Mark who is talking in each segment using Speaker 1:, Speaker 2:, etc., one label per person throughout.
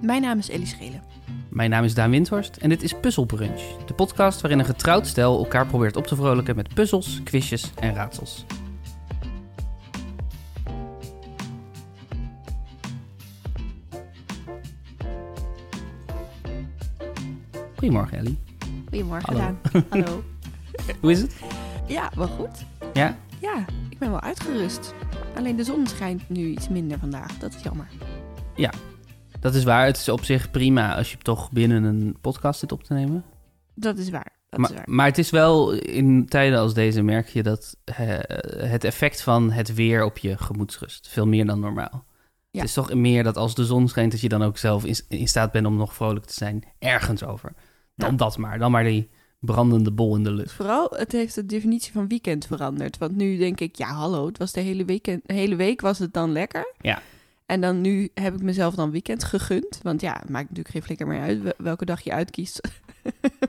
Speaker 1: Mijn naam is Ellie Schelen.
Speaker 2: Mijn naam is Daan Windhorst en dit is Puzzle Brunch, de podcast waarin een getrouwd stel elkaar probeert op te vrolijken met puzzels, quizjes en raadsels. Goedemorgen Ellie,
Speaker 1: Goedemorgen,
Speaker 2: Hallo.
Speaker 1: Daan. Hallo.
Speaker 2: hoe is het?
Speaker 1: Ja, wel goed.
Speaker 2: Ja?
Speaker 1: Ja, ik ben wel uitgerust. Alleen de zon schijnt nu iets minder vandaag. Dat is jammer.
Speaker 2: Dat is waar, het is op zich prima als je toch binnen een podcast zit op te nemen.
Speaker 1: Dat is waar. Dat
Speaker 2: maar,
Speaker 1: is waar.
Speaker 2: maar het is wel, in tijden als deze merk je dat eh, het effect van het weer op je gemoedsrust veel meer dan normaal.
Speaker 1: Ja.
Speaker 2: Het is toch meer dat als de zon schijnt, dat je dan ook zelf in, in staat bent om nog vrolijk te zijn ergens over. Dan
Speaker 1: Ja.
Speaker 2: dat maar, dan maar die brandende bol in de lucht.
Speaker 1: Vooral, het heeft de definitie van weekend veranderd. Want nu denk ik, ja hallo, het was de hele, weekend, de hele week was het dan lekker.
Speaker 2: Ja.
Speaker 1: En dan nu heb ik mezelf dan weekend gegund. Want ja, het maakt natuurlijk geen flikker meer uit wel- welke dag je uitkiest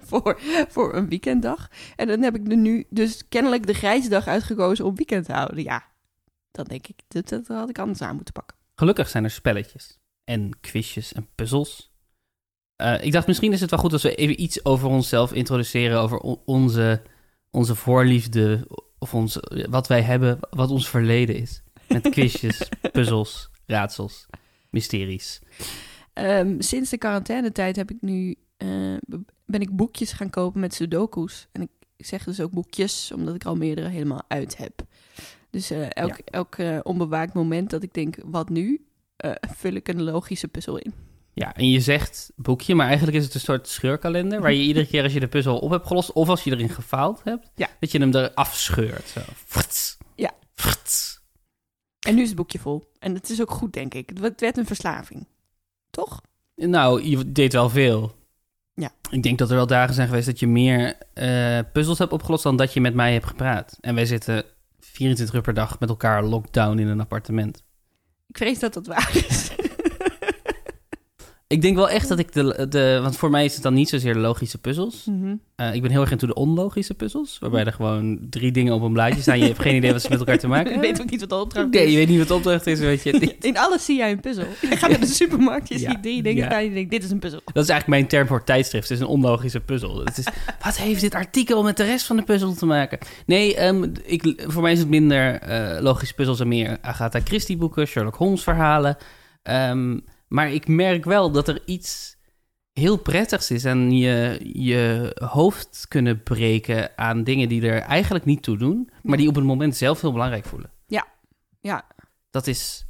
Speaker 1: voor, voor een weekenddag. En dan heb ik er nu dus kennelijk de grijze dag uitgekozen om weekend te houden. Ja, dan denk ik, dat, dat had ik anders aan moeten pakken.
Speaker 2: Gelukkig zijn er spelletjes en quizjes en puzzels. Eh, ik dacht, misschien is het wel goed als we even iets over onszelf introduceren, over o- onze, onze voorliefde, of ons, wat wij hebben, wat ons verleden is. Met quizjes, puzzels, raadsels, mysteries.
Speaker 1: Ehm, sinds de quarantainetijd heb ik nu, eh, b- ben ik boekjes gaan kopen met sudoku's. En ik, ik zeg dus ook boekjes, omdat ik er al meerdere helemaal uit heb. Dus eh, elk, elk eh, onbewaakt moment dat ik denk, wat nu? eh, vul ik een logische puzzel in.
Speaker 2: Ja, en je zegt boekje, maar eigenlijk is het een soort scheurkalender... waar je iedere keer als je de puzzel op hebt gelost... of als je erin gefaald hebt,
Speaker 1: Ja.
Speaker 2: dat je hem eraf scheurt. Zo. Frits.
Speaker 1: Ja.
Speaker 2: Frits.
Speaker 1: En nu is het boekje vol. En dat is ook goed, denk ik. Het werd- Het werd een verslaving. Toch?
Speaker 2: Nou, je deed wel veel.
Speaker 1: Ja.
Speaker 2: Ik denk dat er wel dagen zijn geweest dat je meer eh, puzzels hebt opgelost dan dat je met mij hebt gepraat. En wij zitten 24 uur per dag met elkaar lockdown in een appartement.
Speaker 1: Ik vrees dat dat waar is.
Speaker 2: Ik denk wel echt dat ik de, de... Want voor mij is het dan niet zozeer de logische puzzels.
Speaker 1: Mhm.
Speaker 2: Eh, ik ben heel erg into de onlogische puzzels. Waarbij er gewoon drie dingen op een blaadje staan. Je hebt geen idee wat ze met elkaar te maken
Speaker 1: Ik weet
Speaker 2: hebben.
Speaker 1: ook niet wat de opdracht
Speaker 2: Nee, je
Speaker 1: is.
Speaker 2: weet niet wat de opdracht is. Weet je.
Speaker 1: In alles zie jij een puzzel. Je gaat naar de supermarkt, je
Speaker 2: Ja.
Speaker 1: ziet drie dingen
Speaker 2: Ja.
Speaker 1: staan en je denkt, dit is een puzzel.
Speaker 2: Dat is eigenlijk mijn term voor tijdschrift. Het is een onlogische puzzel. Het is, wat heeft dit artikel met de rest van de puzzel te maken? Nee, ehm, ik, voor mij is het minder eh, logische puzzels en meer Agatha Christie boeken, Sherlock Holmes verhalen. Ehm, maar ik merk wel dat er iets heel prettigs is en je, je hoofd kunnen breken aan dingen die er eigenlijk niet toe doen, maar die op het moment zelf heel belangrijk voelen.
Speaker 1: Ja, ja.
Speaker 2: Dat is,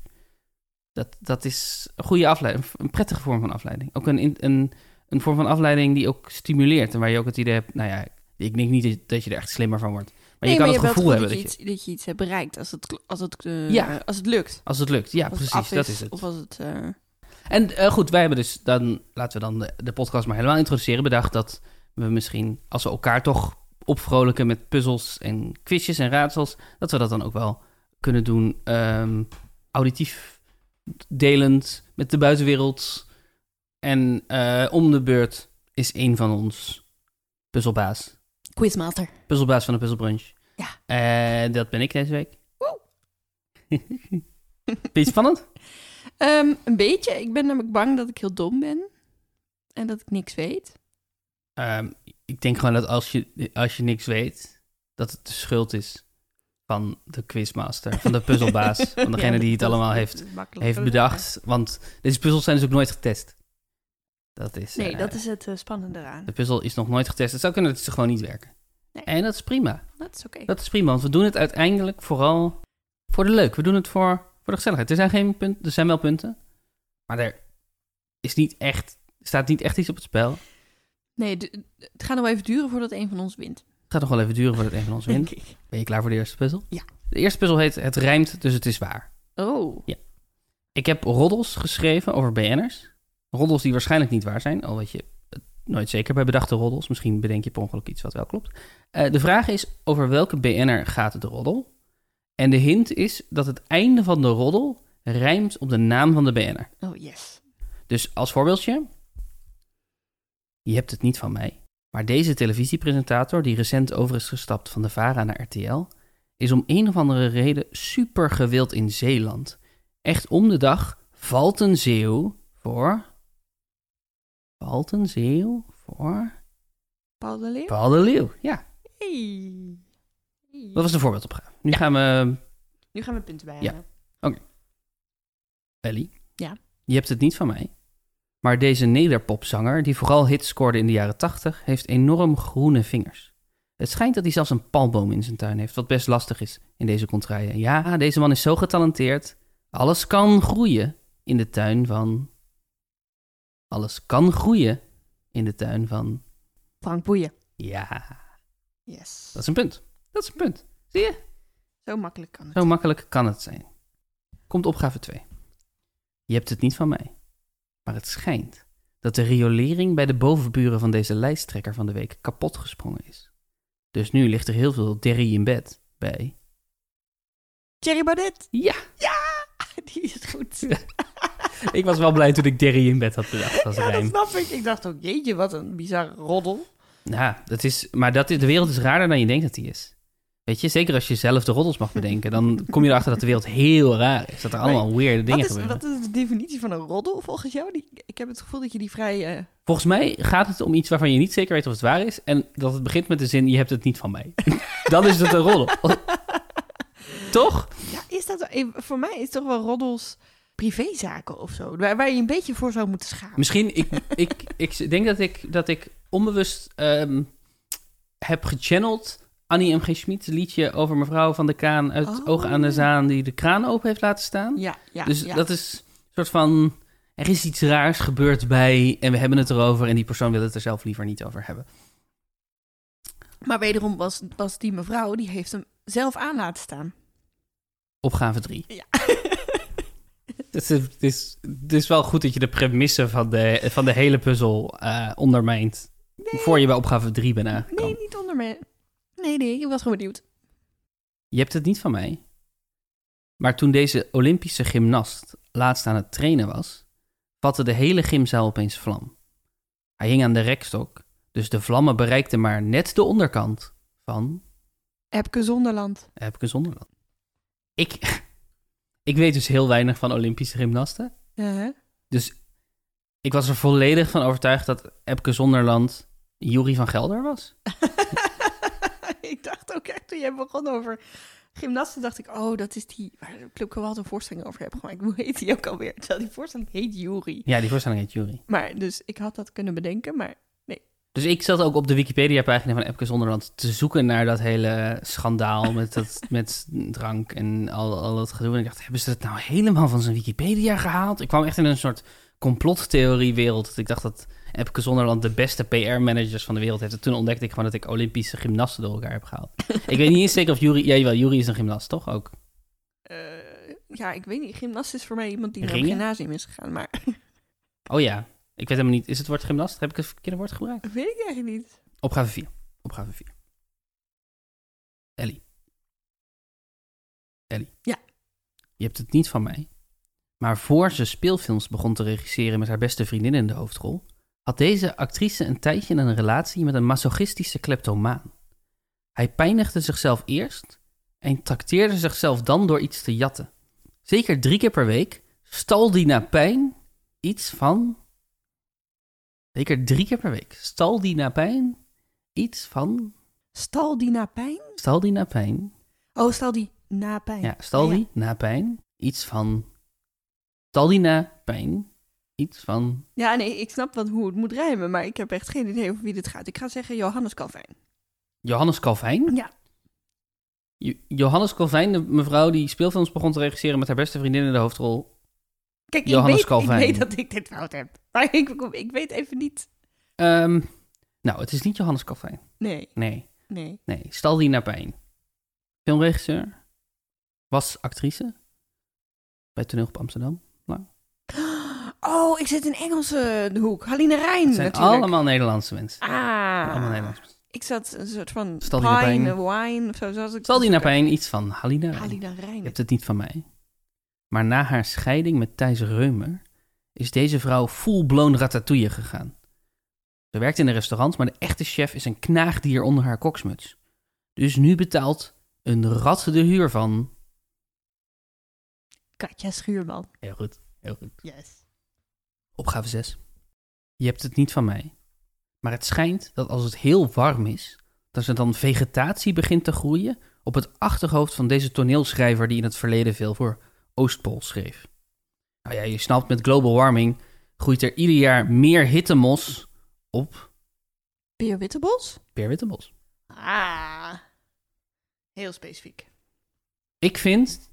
Speaker 2: dat, dat is een goede afleiding, een prettige vorm van afleiding. Ook een, in- een, een vorm van afleiding die ook stimuleert en waar je ook het idee hebt, nou ja, ik denk niet dat je- dat je er echt slimmer van wordt, maar je kan
Speaker 1: maar
Speaker 2: het
Speaker 1: hebt
Speaker 2: gevoel
Speaker 1: wel
Speaker 2: hebben dat
Speaker 1: goed
Speaker 2: je,
Speaker 1: dat je, iets, dat je iets hebt bereikt als het, als het, eh,
Speaker 2: Ja.
Speaker 1: als het lukt.
Speaker 2: als het lukt, ja
Speaker 1: Als het
Speaker 2: precies,
Speaker 1: af
Speaker 2: dat is het.
Speaker 1: Of als het... eh,
Speaker 2: En eh, goed, wij hebben dus dan, laten we dan de, de podcast maar helemaal introduceren, bedacht dat we misschien, als we elkaar toch opvrolijken met puzzels en quizjes en raadsels, dat we dat dan ook wel kunnen doen ehm, auditief delend met de buitenwereld. En eh, om de beurt is een van ons puzzelbaas,
Speaker 1: Quizmaster.
Speaker 2: puzzelbaas van de puzzelbrunch.
Speaker 1: Ja.
Speaker 2: Eh, dat ben ik deze week.
Speaker 1: Woe.
Speaker 2: Vind je het spannend?
Speaker 1: Ehm, een beetje. Ik ben namelijk bang dat ik heel dom ben. En dat ik niks weet.
Speaker 2: Ehm, ik denk gewoon dat als je, als je niks weet, dat het de schuld is van de quizmaster, van de puzzelbaas, van degene
Speaker 1: Ja,
Speaker 2: die het
Speaker 1: dat-
Speaker 2: allemaal
Speaker 1: dat
Speaker 2: heeft,
Speaker 1: is makkelijk.
Speaker 2: heeft bedacht. Want deze puzzels zijn dus ook nooit getest. Dat is,
Speaker 1: Nee,
Speaker 2: eh,
Speaker 1: dat is het eh, spannende eraan.
Speaker 2: De puzzel is nog nooit getest. Het zou kunnen dat ze gewoon niet werken.
Speaker 1: Nee.
Speaker 2: En dat is prima.
Speaker 1: Dat is oké.
Speaker 2: Dat is prima, want we doen het uiteindelijk vooral voor de leuk. We doen het voor, voor de gezelligheid. Er zijn, geen punten, er zijn wel punten, maar er is niet echt, staat niet echt iets op het spel. Het
Speaker 1: Nee, de- het gaat nog wel even duren voordat een van ons wint.
Speaker 2: gaat nog wel even duren voordat een van ons wint.
Speaker 1: Denk ik.
Speaker 2: Ben je klaar voor de eerste puzzel?
Speaker 1: Ja.
Speaker 2: De eerste puzzel heet Het rijmt, dus het is waar.
Speaker 1: Oh.
Speaker 2: Ik heb roddels geschreven over BN'ers. Roddels die waarschijnlijk niet waar zijn, al weet je het nooit zeker bij bedachte roddels. Misschien bedenk je per ongeluk iets wat wel klopt. Eh, de vraag is over welke BN'er gaat de roddel? En de hint is dat het einde van de roddel rijmt op de naam van de BN'er.
Speaker 1: Oh, yes.
Speaker 2: Dus als voorbeeldje, je hebt het niet van mij, maar deze televisiepresentator, die recent over is gestapt van de VARA naar RTL, is om een of andere reden super gewild in Zeeland. Echt om de dag valt een zeeuw voor Paul ten Zeeuw voor
Speaker 1: Paul de Leeuw?
Speaker 2: Paul de Leeuw. Ja,
Speaker 1: Hey. Hey.
Speaker 2: dat was de voorbeeldopgave. Nu gaan we...
Speaker 1: Nu gaan we punten bij.
Speaker 2: Ellie.
Speaker 1: Ja.
Speaker 2: Je hebt het niet van mij. Maar deze nederpopzanger, die vooral hits scoorde in de jaren 80, heeft enorm groene vingers. Het schijnt dat hij zelfs een palmboom in zijn tuin heeft, wat best lastig is in deze contraien. Ja, deze man is zo getalenteerd. Alles kan groeien in de tuin van... Alles kan groeien in de tuin van...
Speaker 1: Frank Boeien.
Speaker 2: Ja,
Speaker 1: Yes.
Speaker 2: dat is een punt. Dat is een punt. Zie je?
Speaker 1: Zo makkelijk kan het.
Speaker 2: Zo makkelijk kan het zijn. Komt opgave 2. Je hebt het niet van mij. Maar het schijnt dat de riolering bij de bovenburen van deze lijsttrekker van de week kapot gesprongen is. Dus nu ligt er heel veel derrie in bed bij.
Speaker 1: Thierry Baudet.
Speaker 2: Ja,
Speaker 1: Ja, die is goed.
Speaker 2: Ja, ik was wel blij toen ik derrie in bed had bedacht als
Speaker 1: ja, dat
Speaker 2: rijm.
Speaker 1: snap ik. Ik dacht ook, jeetje, wat een bizarre roddel.
Speaker 2: Ja, dat is, maar dat is, de wereld is raarder dan je denkt dat die is. Weet je, zeker als je zelf de roddels mag bedenken, dan kom je erachter dat de wereld heel raar is. Dat er allemaal weirde dingen
Speaker 1: Wat is,
Speaker 2: gebeuren.
Speaker 1: wat is de definitie van een roddel volgens jou? Die, ik heb het gevoel dat je die vrij... eh,
Speaker 2: Volgens mij gaat het om iets waarvan je niet zeker weet of het waar is. En dat het begint met de zin: Je hebt het niet van mij. Dan is het een roddel. Toch?
Speaker 1: ja, is dat... eh, Voor mij is toch wel roddels privézaken of zo. Waar, waar je een beetje voor zou moeten schamen.
Speaker 2: Misschien, ik, ik, ik denk dat ik, dat ik onbewust ehm, heb gechanneld. Annie M.G. Schmid's liedje over mevrouw van de Kaan uit
Speaker 1: Oh.
Speaker 2: Oog aan de Zaan, die de kraan open heeft laten staan.
Speaker 1: Ja, ja,
Speaker 2: dus
Speaker 1: ja.
Speaker 2: dat is een soort van: Er is iets raars gebeurd bij en we hebben het erover. En die persoon wil het er zelf liever niet over hebben.
Speaker 1: Maar wederom was, was die mevrouw, die heeft hem zelf aan laten staan.
Speaker 2: Opgave 3.
Speaker 1: Ja.
Speaker 2: Het is, het, is, het is wel goed dat je de premisse van de, van de hele puzzel eh, ondermijnt.
Speaker 1: Nee.
Speaker 2: Voor je bij opgave 3 bent aangekomen.
Speaker 1: Nee, niet onder me. Nee, nee, ik was gewoon benieuwd.
Speaker 2: Je hebt het niet van mij. Maar toen deze Olympische gymnast laatst aan het trainen was, vatte de hele gymzaal opeens vlam. Hij hing aan de rekstok, dus de vlammen bereikten maar net de onderkant van eh,
Speaker 1: Epke Zonderland.
Speaker 2: heb ik een zonderland. Ik, ik weet dus heel weinig van Olympische gymnasten.
Speaker 1: Eh,
Speaker 2: Dus ik was er volledig van overtuigd dat Epke Zonderland Jury van Gelder was.
Speaker 1: ik dacht ook echt, toen jij begon over gymnasten, dacht ik, oh, dat is die waar Club wel een voorstelling over heb gemaakt. Hoe heet die ook alweer? Terwijl die voorstelling heet Jury.
Speaker 2: Ja, die voorstelling heet Jury.
Speaker 1: Maar dus ik had dat kunnen bedenken, maar
Speaker 2: Dus ik zat ook op de Wikipedia-pagina van Epke Zonderland te zoeken naar dat hele schandaal met, dat, met drank en al, al dat gedoe. En ik dacht, hebben ze dat nou helemaal van zijn Wikipedia gehaald? Ik kwam echt in een soort complottheorie-wereld. Dat Ik dacht dat Epke Zonderland de beste PR-managers van de wereld heeft. En toen ontdekte ik gewoon dat ik Olympische gymnasten door elkaar heb gehaald. ik weet niet eens zeker of Jury... Ja, jawel, Jury is een gymnast, toch? Ook.
Speaker 1: eh, ja, ik weet niet. Gymnast is voor mij iemand die naar het
Speaker 2: Ringen?
Speaker 1: gymnasium is gegaan, maar
Speaker 2: Oh ja, ik weet helemaal niet. Is het woord gymnast? Heb ik het verkeerde woord gebruikt?
Speaker 1: weet ik eigenlijk niet.
Speaker 2: Opgave 4. Opgave 4. Ellie. Ellie.
Speaker 1: Ja.
Speaker 2: Je hebt het niet van mij. Maar voor ze speelfilms begon te regisseren met haar beste vriendin in de hoofdrol, had deze actrice een tijdje een relatie met een masochistische kleptomaan. Hij pijnigde zichzelf eerst en trakteerde zichzelf dan door iets te jatten. Zeker drie keer per week stal die na pijn iets van. Zeker drie keer per week stal die na pijn iets van.
Speaker 1: Stal die na pijn?
Speaker 2: Stal die na pijn.
Speaker 1: Oh, stal die na pijn. Oh,
Speaker 2: Ja, stal die na pijn iets van. Stal die na pijn iets van.
Speaker 1: Ja, nee, ik snap wel hoe het moet rijmen, maar ik heb echt geen idee over wie dit gaat. Ik ga zeggen Johannes Calvijn.
Speaker 2: Johannes Calvijn?
Speaker 1: Ja.
Speaker 2: Jo- Johannes Calvijn, de mevrouw die speelfilms begon te regisseren met haar beste vriendin in de hoofdrol.
Speaker 1: Kijk,
Speaker 2: Johannes
Speaker 1: ik, weet, ik
Speaker 2: Calvijn.
Speaker 1: weet dat ik dit fout heb, maar ik, ik weet even niet.
Speaker 2: Ehm, nou, het is niet Johannes Calvijn.
Speaker 1: Nee,
Speaker 2: Nee,
Speaker 1: nee.
Speaker 2: nee. Stal die na pijn. Filmregisseur. Was actrice. Bij Toneel op Amsterdam.
Speaker 1: Oh, ik zit in Engelse hoek. Haline Rijn
Speaker 2: Het zijn
Speaker 1: natuurlijk.
Speaker 2: allemaal Nederlandse mensen. Allemaal
Speaker 1: Ah,
Speaker 2: Nederlandse mensen.
Speaker 1: ik zat een soort van
Speaker 2: Stal die naar
Speaker 1: pine, wine of zo. Zoals ik
Speaker 2: Stal die na pijn iets van Halina. Rijn.
Speaker 1: Haline
Speaker 2: Je
Speaker 1: Rijn.
Speaker 2: hebt het niet van mij. Maar na haar scheiding met Thijs Reumer is deze vrouw full-blown ratatouille gegaan. Ze werkt in een restaurant, maar de echte chef is een knaagdier onder haar koksmuts. Dus nu betaalt een rat de huur van...
Speaker 1: Katja Schuurman.
Speaker 2: Heel goed, heel goed.
Speaker 1: Yes.
Speaker 2: Opgave 6. je hebt het niet van mij. Maar het schijnt dat als het heel warm is, dat er dan vegetatie begint te groeien op het achterhoofd van deze toneelschrijver die in het verleden veel voor Oostpool schreef. Nou ja, je snapt, met global warming groeit er ieder jaar meer hittemos op
Speaker 1: Peer Wittebos?
Speaker 2: per Wittebos.
Speaker 1: Ah, heel specifiek.
Speaker 2: Ik vind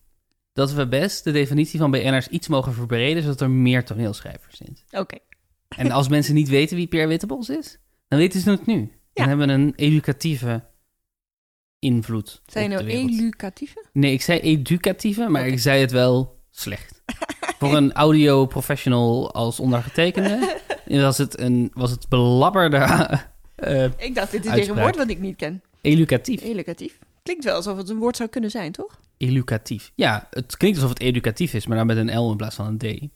Speaker 2: dat we best de definitie van BN'ers iets mogen verbreden, zodat er meer toneelschrijvers zijn.
Speaker 1: Oké.
Speaker 2: En als mensen niet weten wie Pierre Wittebos is, dan weten ze het nu. Dan hebben we een educatieve invloed.
Speaker 1: Zijn
Speaker 2: op
Speaker 1: nou
Speaker 2: de wereld.
Speaker 1: educatieve?
Speaker 2: Nee, ik zei educatieve, maar
Speaker 1: Oké.
Speaker 2: ik zei het wel slecht. Voor een audio professional als ondergetekende was het, een, was het belabberde eh,
Speaker 1: Ik dacht, dit is weer een
Speaker 2: Uitspraak.
Speaker 1: woord wat ik niet ken. E-
Speaker 2: educatief.
Speaker 1: Educatief. Klinkt wel alsof het een woord zou kunnen zijn, toch?
Speaker 2: Educatief. Ja, het klinkt alsof het educatief is, maar dan met een L in plaats van een D.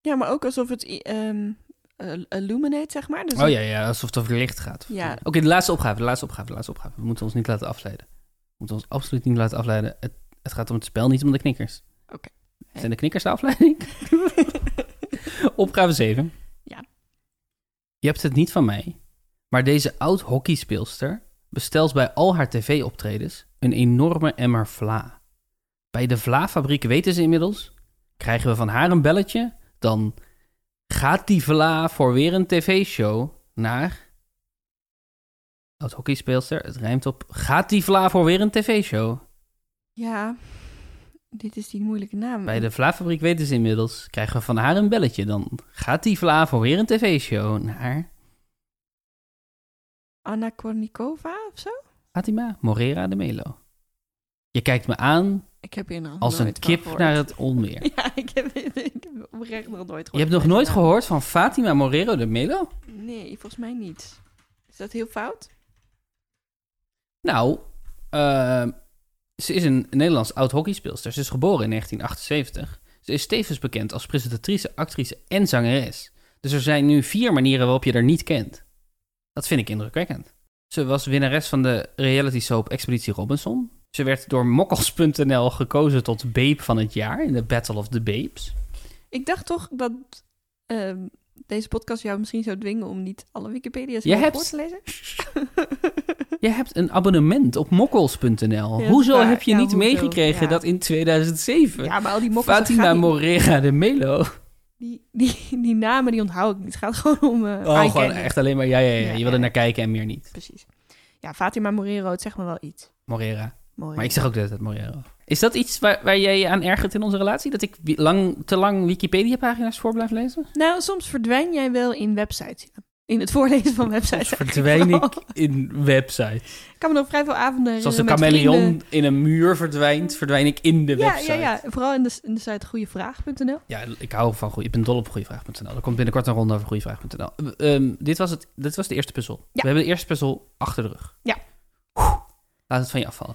Speaker 1: Ja, maar ook alsof het i- ehm, eh, illuminate, zeg maar. Dus
Speaker 2: Oh ja, ja, alsof het over licht gaat.
Speaker 1: Ja.
Speaker 2: Oké, de laatste opgave, de laatste opgave, de laatste opgave. We moeten ons niet laten afleiden. We moeten ons absoluut niet laten afleiden. Het, het gaat om het spel, niet om de knikkers.
Speaker 1: Oké.
Speaker 2: Zijn de knikkers de afleiding? opgave 7.
Speaker 1: Ja.
Speaker 2: Je hebt het niet van mij, maar deze oud-hockeyspeelster bestelt bij al haar tv-optredens een enorme emmer vla. Bij de vla-fabriek weten ze inmiddels, krijgen we van haar een belletje, dan gaat die vla voor weer een tv-show naar... Oud-hockeyspeelster, het rijmt op, gaat die vla voor weer een tv-show?
Speaker 1: Ja, dit is die moeilijke naam.
Speaker 2: Bij de Vlafabriek weten ze inmiddels, krijgen we van haar een belletje. Dan gaat die Vla voor weer een tv-show naar
Speaker 1: Anna Kornikova of zo?
Speaker 2: Fatima Morera de Melo. Je kijkt me aan
Speaker 1: Ik heb hier nog
Speaker 2: als een
Speaker 1: nooit van
Speaker 2: kip
Speaker 1: gehoord.
Speaker 2: naar het onweer.
Speaker 1: Ja, ik nou- heb, ik heb oprecht nog nooit gehoord.
Speaker 2: Je hebt nog
Speaker 1: van
Speaker 2: nooit
Speaker 1: deze
Speaker 2: gehoord van Fatima Morera de Melo?
Speaker 1: naam. Nee, volgens mij niet. Is dat heel fout?
Speaker 2: Nou, eh, ze is een Nederlands oud-hockeyspeelster. Ze is geboren in 1978. Ze is tevens bekend als presentatrice, actrice en zangeres. Dus er zijn nu vier manieren waarop je haar niet kent. Dat vind ik indrukwekkend. Ze was winnares van de reality soap Expeditie Robinson. Ze werd door mokkels.nl gekozen tot babe van het jaar in de Battle of the Babes.
Speaker 1: Ik dacht toch dat ehm, deze podcast jou misschien zou dwingen om niet alle Wikipedia's
Speaker 2: Je hebt-
Speaker 1: voor te lezen.
Speaker 2: Je hebt een abonnement op mokkels.nl.
Speaker 1: Ja,
Speaker 2: hoezo
Speaker 1: waar.
Speaker 2: heb je
Speaker 1: Ja,
Speaker 2: niet
Speaker 1: hoezo?
Speaker 2: meegekregen
Speaker 1: Ja.
Speaker 2: dat in 2007
Speaker 1: Ja, maar al die mokken.
Speaker 2: Fatima Morera de Melo Oh,
Speaker 1: Die, die, die namen die onthoud ik niet. Het gaat gewoon om. eh
Speaker 2: Oh,
Speaker 1: eye
Speaker 2: gewoon
Speaker 1: candy.
Speaker 2: echt alleen maar, ja, ja, ja.
Speaker 1: Ja,
Speaker 2: je
Speaker 1: ja.
Speaker 2: wil er naar kijken en meer niet.
Speaker 1: Precies. Ja, Fatima Morero, het zegt me wel iets.
Speaker 2: Morera.
Speaker 1: Mooi.
Speaker 2: Maar ik zeg ook dat het Morera. Is dat iets waar, waar jij je aan ergert in onze relatie? Dat ik wi- lang, te lang Wikipedia-pagina's voor blijf lezen?
Speaker 1: Nou, soms verdwijn jij wel in websites. ja. In het voorlezen van websites.
Speaker 2: Verdwijn ik
Speaker 1: eigenlijk
Speaker 2: in websites.
Speaker 1: wel. Ik kan me nog vrij veel avonden
Speaker 2: Zoals de
Speaker 1: herinneren met vrienden.
Speaker 2: chameleon in een muur verdwijnt, verdwijn ik in de
Speaker 1: ja,
Speaker 2: website.
Speaker 1: Ja, ja, vooral in de, in de site goeievraag.nl.
Speaker 2: Ja, ik hou van goeie. Ik ben dol op goeievraag.nl. Er komt binnenkort een ronde over goeievraag.nl. Eh, ehm, dit, was het, dit was de eerste puzzel. We hebben de eerste puzzel achter de rug.
Speaker 1: Ja.
Speaker 2: Oeh, laat het van je afvallen.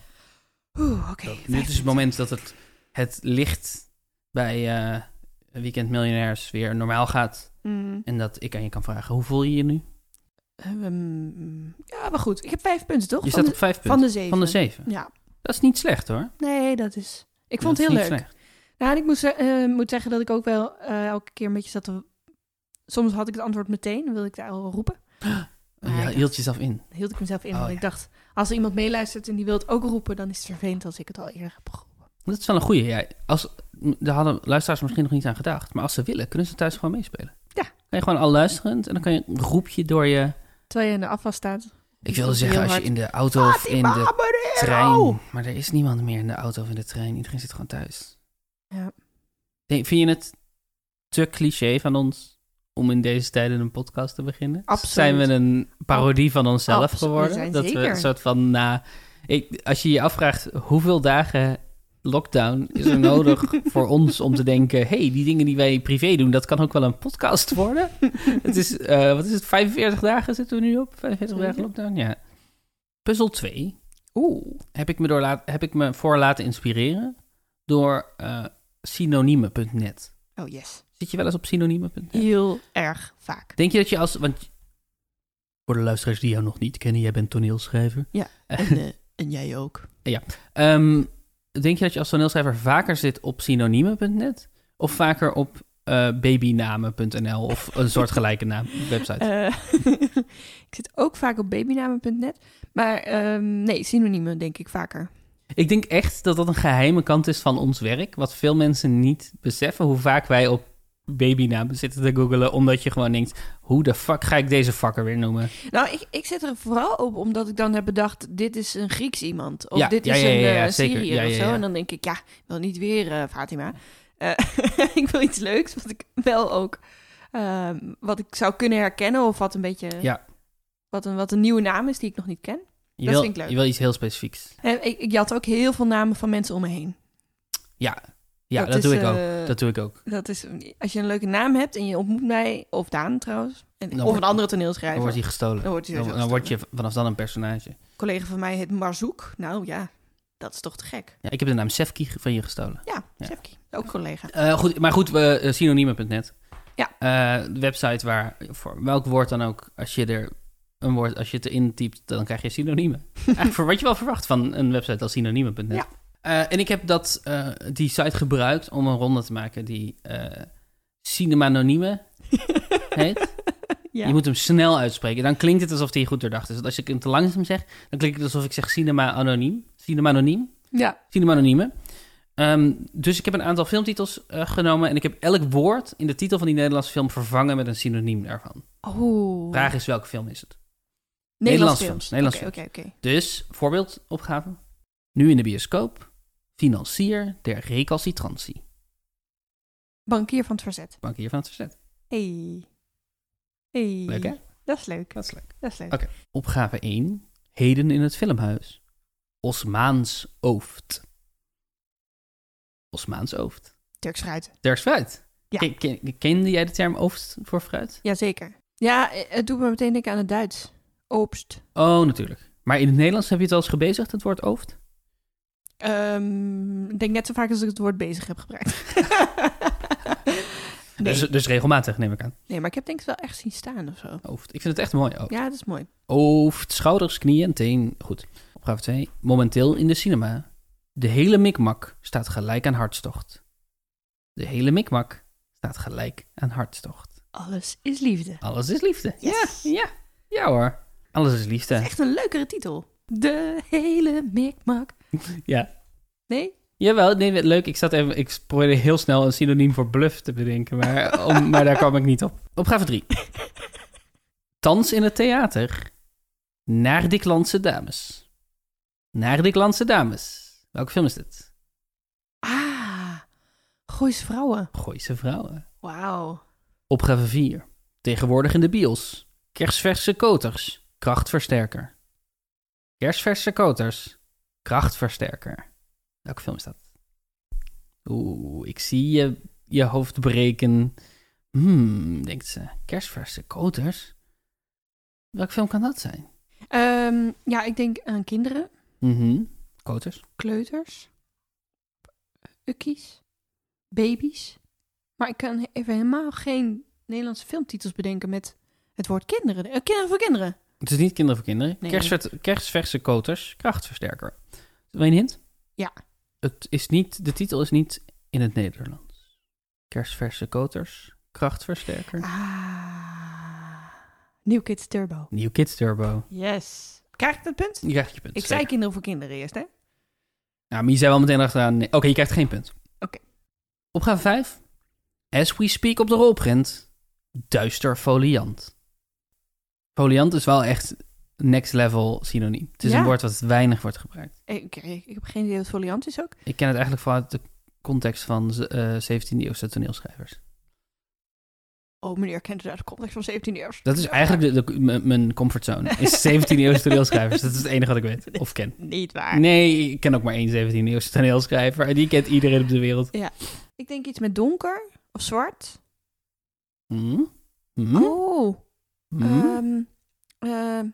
Speaker 1: Oeh, oké.
Speaker 2: Zo,
Speaker 1: vijf
Speaker 2: dit is het moment dat het, het licht bij eh Weekend Miljonairs weer normaal gaat.
Speaker 1: minuten. Mm.
Speaker 2: En dat ik aan je kan vragen, hoe voel je je nu?
Speaker 1: Ehm, ja, maar goed. Ik heb vijf punten, toch? van,
Speaker 2: Je staat
Speaker 1: de,
Speaker 2: op vijf
Speaker 1: van
Speaker 2: punten.
Speaker 1: de zeven.
Speaker 2: Van de zeven.
Speaker 1: Ja,
Speaker 2: Dat is niet slecht hoor.
Speaker 1: nee, dat is... Ik vond het
Speaker 2: Dat
Speaker 1: heel
Speaker 2: is
Speaker 1: leuk.
Speaker 2: niet slecht.
Speaker 1: Nou, en ik moet, ze- eh, moet zeggen dat ik ook wel eh, elke keer een beetje zat te... Soms had ik het antwoord meteen, dan wilde ik daar al roepen. Maar
Speaker 2: Ja,
Speaker 1: Ah, ja,
Speaker 2: hield jezelf in.
Speaker 1: dan hield ik mezelf in,
Speaker 2: Oh,
Speaker 1: want
Speaker 2: ja.
Speaker 1: ik dacht... Als er iemand meeluistert en die wil het ook roepen, dan is het vervelend als ik het al eerder heb geroepen.
Speaker 2: Dat is wel een goeie. Ja, als, daar hadden luisteraars misschien nog niet aan gedacht. Maar als ze willen, kunnen ze thuis gewoon meespelen.
Speaker 1: Ja.
Speaker 2: Kan je gewoon al luisterend en dan kan je een groepje door je...
Speaker 1: Terwijl je in de afwas staat.
Speaker 2: Ik wilde
Speaker 1: Heel
Speaker 2: zeggen, als je
Speaker 1: hard.
Speaker 2: in de auto
Speaker 1: "Ah,
Speaker 2: of in de
Speaker 1: Fatima Barrero!
Speaker 2: trein... Maar er is niemand meer in de auto of in de trein. Iedereen zit gewoon thuis.
Speaker 1: Ja.
Speaker 2: Denk- vind je het te cliché van ons om in deze tijden een podcast te beginnen?
Speaker 1: Absoluut.
Speaker 2: Zijn we een parodie van onszelf
Speaker 1: Absoluut, we
Speaker 2: geworden?
Speaker 1: zijn
Speaker 2: dat we
Speaker 1: zeker.
Speaker 2: een soort van na. ik, als je je afvraagt hoeveel dagen lockdown is er nodig voor ons om te denken: hé, hey, die dingen die wij privé doen, dat kan ook wel een podcast worden. het is, eh, wat is het, 45 dagen zitten we nu op? 45 dagen
Speaker 1: Zeker.
Speaker 2: lockdown, ja. Puzzel 2
Speaker 1: Oeh.
Speaker 2: heb ik me, door laat, heb ik me voor laten inspireren door eh, synoniemen.net.
Speaker 1: Oh, yes.
Speaker 2: Zit je wel eens op synoniemen.net?
Speaker 1: Heel erg vaak.
Speaker 2: Denk je dat je als... Want voor de luisteraars die jou nog niet kennen, jij bent toneelschrijver.
Speaker 1: Ja. En, eh, en jij ook.
Speaker 2: Ehm, denk je dat je als toneelschrijver vaker zit op synoniemen.net of vaker op eh, babynamen.nl of een soortgelijke naam, website.
Speaker 1: Eh, ik zit ook vaak op babynamen.net. Maar ehm nee, synoniemen denk ik vaker.
Speaker 2: Ik denk echt dat dat een geheime kant is van ons werk. Wat veel mensen niet beseffen. Hoe vaak wij op babynamen zitten te googelen. Omdat je gewoon denkt, hoe de fuck ga ik deze fucker weer noemen?
Speaker 1: Nou, ik, ik zit er vooral op omdat ik dan heb bedacht... dit is een Grieks iemand. Of
Speaker 2: Ja,
Speaker 1: dit
Speaker 2: ja,
Speaker 1: is
Speaker 2: ja,
Speaker 1: een
Speaker 2: ja, ja,
Speaker 1: eh,
Speaker 2: zeker.
Speaker 1: Syriër
Speaker 2: Ja,
Speaker 1: of zo.
Speaker 2: ja, ja.
Speaker 1: En dan denk ik, ja, ik wil niet weer eh, Fatima. Eh, ik wil iets leuks, wat ik wel ook... ehm, wat ik zou kunnen herkennen of wat een beetje...
Speaker 2: Ja.
Speaker 1: Wat, een, wat een nieuwe naam is die ik nog niet ken.
Speaker 2: Je
Speaker 1: Dat
Speaker 2: wil,
Speaker 1: vind ik leuk.
Speaker 2: Je wil iets heel specifieks.
Speaker 1: En ik, ik had ook heel veel namen van mensen om me heen.
Speaker 2: Ja, dat,
Speaker 1: is,
Speaker 2: doe ik ook.
Speaker 1: eh,
Speaker 2: Dat doe ik ook.
Speaker 1: Dat is, als je een leuke naam hebt en je ontmoet mij, of Daan trouwens, en,
Speaker 2: Dan
Speaker 1: of
Speaker 2: wordt-
Speaker 1: een andere
Speaker 2: Dan
Speaker 1: toneelschrijver,
Speaker 2: wordt hij gestolen.
Speaker 1: dan wordt hij
Speaker 2: Dan,
Speaker 1: sowieso
Speaker 2: dan word
Speaker 1: gestolen.
Speaker 2: je vanaf dan een personage.
Speaker 1: Een collega van mij heet Marzoek. Nou ja, dat is toch te gek.
Speaker 2: Ja, ik heb de naam Sefki van je gestolen.
Speaker 1: Ja,
Speaker 2: Ja.
Speaker 1: Sjefki, ook collega.
Speaker 2: Eh, goed, maar goed, we eh, synoniemen.net.
Speaker 1: Ja.
Speaker 2: Eh, de website waar voor welk woord dan ook, als je er een woord, als je het erin typt, dan krijg je synoniemen. Eigenlijk voor wat je wel verwacht van een website als synoniemen.net.
Speaker 1: Ja.
Speaker 2: Eh, en ik heb dat, eh, die site gebruikt om een ronde te maken die eh Cinemanoniemen heet.
Speaker 1: ja.
Speaker 2: Je moet hem snel uitspreken. Dan klinkt het alsof hij goed doordacht is. Want als ik hem te langzaam zeg, dan klinkt het alsof ik zeg cinema anoniem. Cinema anoniem.
Speaker 1: ja,
Speaker 2: Cinema Anonieme. Ehm, dus ik heb een aantal filmtitels eh, genomen en ik heb elk woord in de titel van die Nederlandse film vervangen met een synoniem daarvan.
Speaker 1: oh.
Speaker 2: Vraag is welke film is het? Nederlands
Speaker 1: Nederlands
Speaker 2: films,
Speaker 1: films.
Speaker 2: Nederlands
Speaker 1: Oké, oké, oké.
Speaker 2: Dus, voorbeeldopgave. Nu in de bioscoop. Financier der recalcitrantie.
Speaker 1: Bankier van het Verzet.
Speaker 2: Bankier van het verzet.
Speaker 1: Hey. Hey.
Speaker 2: Leuk hè?
Speaker 1: Dat is leuk,
Speaker 2: Dat is leuk.
Speaker 1: dat is leuk.
Speaker 2: Oké. Opgave 1. Heden in het filmhuis. Osmaans Ooft. Osmaans Ooft.
Speaker 1: Turks fruit.
Speaker 2: Turks fruit.
Speaker 1: Ja.
Speaker 2: Ken- ken- kende jij de term ooft voor fruit?
Speaker 1: Jazeker. Ja, eh, het doet me meteen denken aan het Duits. Obst.
Speaker 2: Oh, natuurlijk. Maar in het Nederlands heb je het al eens gebezigd, het woord ooft?
Speaker 1: Ehm, ik denk net zo vaak als ik het woord bezig heb gebruikt. nee.
Speaker 2: Dus, Oh. dus regelmatig, neem ik aan.
Speaker 1: nee, maar ik heb denk ik het wel echt zien staan of zo.
Speaker 2: Ooft. Ik vind het echt mooi. Ooft,
Speaker 1: Ja, dat is mooi.
Speaker 2: ooft schouders, knieën en teen. Goed. Opgave 2. Momenteel in de cinema. De hele mikmak staat gelijk aan hartstocht. De hele mikmak staat gelijk aan hartstocht.
Speaker 1: Alles is liefde.
Speaker 2: Alles is liefde.
Speaker 1: Yes.
Speaker 2: Ja, ja. Ja hoor. Alles is
Speaker 1: Dat is
Speaker 2: liefde.
Speaker 1: echt een leukere titel. De hele mikmak.
Speaker 2: Ja.
Speaker 1: Nee?
Speaker 2: Jawel, nee, leuk. Ik, zat even, ik probeerde heel snel een synoniem voor bluff te bedenken, maar, om- maar daar kwam ik niet op. Opgave 3. Thans in het theater. Naar Diklandse dames. Naar Diklandse dames. Welke film is dit?
Speaker 1: ah, Goois vrouwen.
Speaker 2: Gooise vrouwen.
Speaker 1: Wauw.
Speaker 2: Opgave 4. Tegenwoordig in de bios. Kersverse koters. Krachtversterker. Kersverse koters. Krachtversterker. Welke film is dat? Oeh, ik zie je, je hoofd breken. Hmm, denkt ze. Kersverse koters? Welke film kan dat zijn?
Speaker 1: Ehm, ja, ik denk aan kinderen,
Speaker 2: Mhm. Koters.
Speaker 1: kleuters, ukkies, baby's. Maar ik kan even helemaal geen Nederlandse filmtitels bedenken met het woord kinderen. Eh, kinderen voor kinderen.
Speaker 2: Het is niet kinderen voor kinderen.
Speaker 1: Nee.
Speaker 2: Kersver- kersverse koters, krachtversterker. Wil je een hint?
Speaker 1: Ja.
Speaker 2: Het is niet, de titel is niet in het Nederlands. Kersverse koters, krachtversterker.
Speaker 1: Ah, New Kids Turbo.
Speaker 2: New Kids Turbo.
Speaker 1: Yes. Krijg ik dat punt?
Speaker 2: Je krijgt je punt.
Speaker 1: Ik
Speaker 2: zeker.
Speaker 1: zei kinderen voor kinderen eerst, hè?
Speaker 2: Ja, maar je zei wel meteen achteraan... nee. Oké, je krijgt geen punt.
Speaker 1: Oké.
Speaker 2: Opgave 5. As we speak op de rolprint. Duister foliant. Foliant is wel echt next level synoniem. Het is
Speaker 1: Ja.
Speaker 2: een woord wat weinig wordt gebruikt.
Speaker 1: Eh, Ik, ik, ik heb geen idee wat foliant is ook.
Speaker 2: Ik ken het eigenlijk vanuit de context van z- eh 17e eeuwse toneelschrijvers.
Speaker 1: Oh, meneer kent het uit de context van 17 jaar.
Speaker 2: Dat is eigenlijk de, de- m- mijn comfortzone. Is 17e eeuwse toneelschrijvers. Dat is het enige wat ik weet of ken.
Speaker 1: Niet waar.
Speaker 2: Nee, ik ken ook maar één 17e eeuwse toneelschrijver. En die kent iedereen op de wereld.
Speaker 1: Ik denk iets met donker of zwart.
Speaker 2: Hm? Hm?
Speaker 1: Oh,
Speaker 2: Hm?
Speaker 1: ehm, ehm,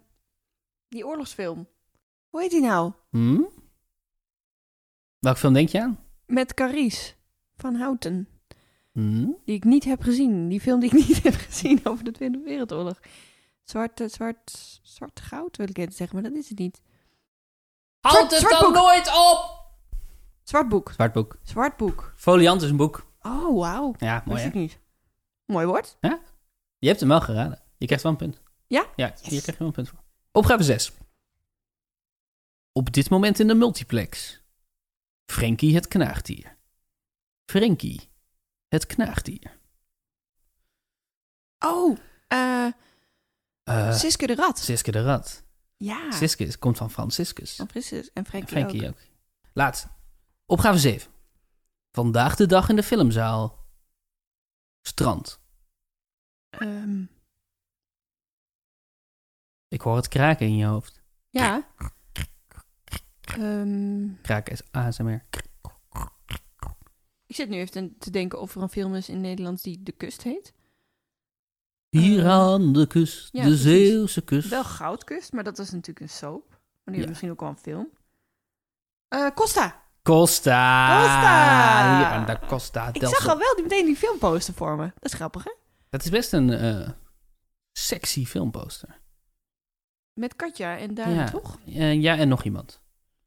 Speaker 1: die oorlogsfilm. Hoe heet die nou?
Speaker 2: Hm? Welke film denk je aan?
Speaker 1: Met Carice van Houten.
Speaker 2: Hm?
Speaker 1: Die ik niet heb gezien. Die film die ik niet heb gezien over de Tweede Wereldoorlog. Zwart, eh, zwart, zwart goud wil ik net zeggen, maar dat is het niet. Houd het dan
Speaker 2: nooit op!
Speaker 1: Zwart boek.
Speaker 2: Zwart boek.
Speaker 1: Zwart boek.
Speaker 2: Foliant is een boek.
Speaker 1: Oh, wauw.
Speaker 2: Ja, mooi
Speaker 1: Wist
Speaker 2: hè?
Speaker 1: ik niet. Mooi woord.
Speaker 2: Je hebt hem wel geraden. Je krijgt wel een punt.
Speaker 1: Ja?
Speaker 2: Ja, je
Speaker 1: Yes.
Speaker 2: krijgt wel een punt voor. Opgave 6. Op dit moment in de multiplex. Frankie het knaagdier. Frankie het knaagdier.
Speaker 1: Oh, eh
Speaker 2: Eh
Speaker 1: Siske de Rat.
Speaker 2: Siske de Rat.
Speaker 1: Ja.
Speaker 2: Siske is- komt van Franciscus.
Speaker 1: Van Francis en Ah.
Speaker 2: En
Speaker 1: Oh, Frankie,
Speaker 2: Frankie ook. Laatst. Opgave 7. Vandaag de dag in de filmzaal. Strand.
Speaker 1: ook. Ehm,
Speaker 2: Ik hoor het kraken in je hoofd.
Speaker 1: ja. Ehm,
Speaker 2: Kraken is ASMR.
Speaker 1: ik zit nu even te denken of er een film is in Nederland die De Kust heet.
Speaker 2: Hier aan de kust,
Speaker 1: Oh. Ja,
Speaker 2: de
Speaker 1: precies.
Speaker 2: Zeeuwse kust.
Speaker 1: Wel Goudkust, maar dat is natuurlijk een soap. Maar die
Speaker 2: Dus- Ja.
Speaker 1: hebben misschien ook wel een film. Eh, Costa.
Speaker 2: Costa.
Speaker 1: Costa.
Speaker 2: Hier aan de Costa
Speaker 1: Ik
Speaker 2: del
Speaker 1: zag
Speaker 2: Sol.
Speaker 1: al wel die, meteen die filmposter voor me. Dat is grappig, hè?
Speaker 2: Dat is best een eh, sexy filmposter.
Speaker 1: Met Katja en Daan,
Speaker 2: Ja.
Speaker 1: toch?
Speaker 2: Eh, ja, en nog iemand.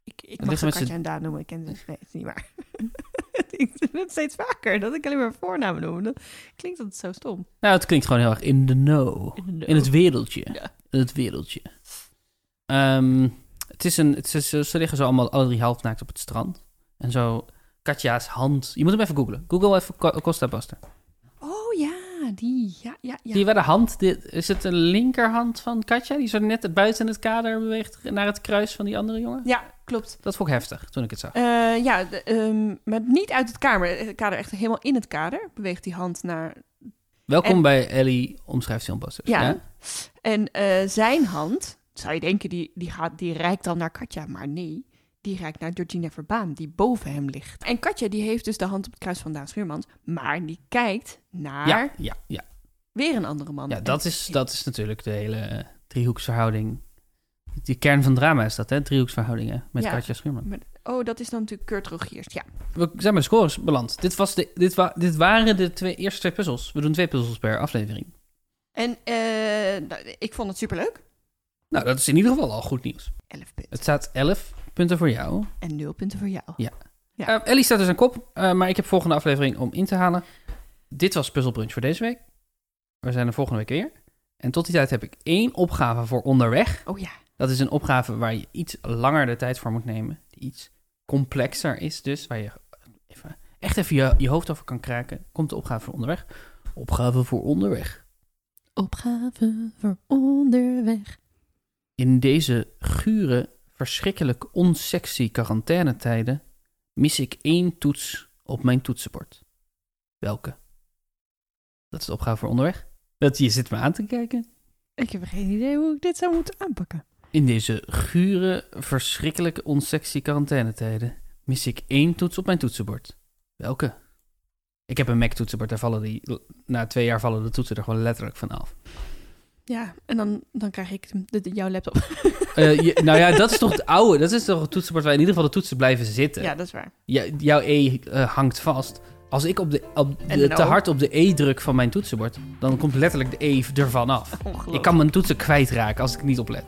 Speaker 1: Ik, ik
Speaker 2: Dat
Speaker 1: mag
Speaker 2: ligt
Speaker 1: ze
Speaker 2: met z'n-
Speaker 1: Katja en Daan noemen. Ik ken ze. Nee, het is niet waar. ik doe het steeds vaker. Dat ik alleen maar voornamen noem. Dan klinkt dat zo stom.
Speaker 2: Nou, het klinkt gewoon heel erg in de know. In het wereldje.
Speaker 1: Ja.
Speaker 2: In het wereldje. Ehm, het is een, het is, ze liggen zo allemaal alle drie halfnaakt op het strand. En zo Katja's hand. Je moet hem even googlen. Google even Co- Costa Buster.
Speaker 1: Oh ja, die. Ja, ja, ja.
Speaker 2: Zie je waar de hand... Dit, is het de linkerhand van Katja? Die zo net buiten het kader beweegt naar het kruis van die andere jongen?
Speaker 1: Ja, klopt.
Speaker 2: Dat vond ik heftig toen ik het zag.
Speaker 1: Eh, ja, de- ehm, maar niet uit het kamer. Het kader echt helemaal in het kader. Beweegt die hand naar...
Speaker 2: Welkom
Speaker 1: En-
Speaker 2: bij Ellie Omschrijft Filmposters.
Speaker 1: Ja. En eh, zijn hand, zou je denken, die, die, gaat, die reikt dan naar Katja. Maar nee, die reikt naar Georgina Verbaan, die boven hem ligt. En Katja, die heeft dus de hand op het kruis van Daan Schuurmans. Maar die kijkt naar
Speaker 2: Ja, ja, ja.
Speaker 1: weer een andere man.
Speaker 2: ja
Speaker 1: En-
Speaker 2: dat, is, dat is natuurlijk de hele eh, driehoeksverhouding. Die kern van drama is dat, hè? Driehoeksverhoudingen met
Speaker 1: Ja.
Speaker 2: Katja Schuurman.
Speaker 1: Oh, dat is dan natuurlijk Kurt Rogiers. Ja.
Speaker 2: We zijn bij de scores beland. Dit, was de, dit, wa- dit waren de twee, eerste twee puzzels. We doen twee puzzels per aflevering.
Speaker 1: En eh, nou, ik vond het superleuk.
Speaker 2: Nou, dat is in ieder geval al goed nieuws.
Speaker 1: 11 punten.
Speaker 2: Het staat 11 punten voor jou.
Speaker 1: En 0 punten voor jou. Ja.
Speaker 2: Eh, Ellie staat dus aan kop, eh, maar ik heb volgende aflevering om in te halen. Dit was Puzzle Brunch voor deze week. We zijn er volgende week weer. En tot die tijd heb ik één opgave voor onderweg.
Speaker 1: Oh ja.
Speaker 2: Dat is een opgave waar je iets langer de tijd voor moet nemen. Die iets complexer is dus. Waar je even, echt even je, je hoofd over kan kraken. Komt de opgave voor onderweg. Opgave voor onderweg.
Speaker 1: Opgave voor onderweg.
Speaker 2: In deze gure, verschrikkelijk onsexy quarantainetijden... mis ik één toets op mijn toetsenbord. Welke? Dat is de opgave voor onderweg. Dat, je zit me aan te kijken.
Speaker 1: Ik heb geen idee hoe ik dit zou moeten aanpakken.
Speaker 2: In deze gure, verschrikkelijke, onsexy quarantainetijden mis ik één toets op mijn toetsenbord. Welke? Ik heb een Mac-toetsenbord, daar vallen die, na twee jaar vallen de toetsen er gewoon letterlijk van af.
Speaker 1: Ja, en dan, dan krijg ik de, de- jouw laptop.
Speaker 2: Eh, je- nou ja, dat is toch het oude, dat is toch het toetsenbord waar in ieder geval de toetsen blijven zitten.
Speaker 1: Ja, dat is waar.
Speaker 2: Ja, jouw E eh, hangt vast. Als ik op de, op
Speaker 1: En
Speaker 2: de-
Speaker 1: een
Speaker 2: te
Speaker 1: O.
Speaker 2: hard op de E druk van mijn toetsenbord, dan komt letterlijk de E ervan af.
Speaker 1: Ongelooflijk.
Speaker 2: Ik kan mijn toetsen kwijtraken als ik niet oplet.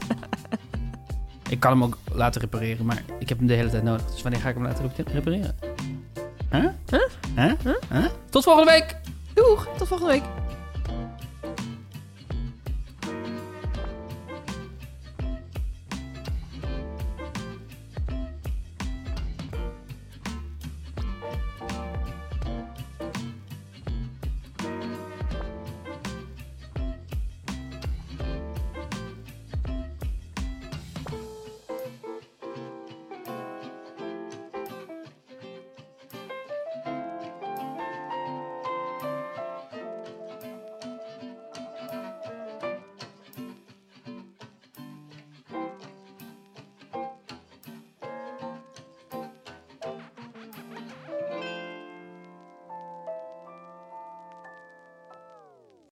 Speaker 2: ik kan hem ook laten repareren, maar ik heb hem de hele tijd nodig. Dus wanneer ga ik hem laten rep- repareren? Huh? Huh? Huh? Tot volgende week!
Speaker 1: Doeg, tot volgende week.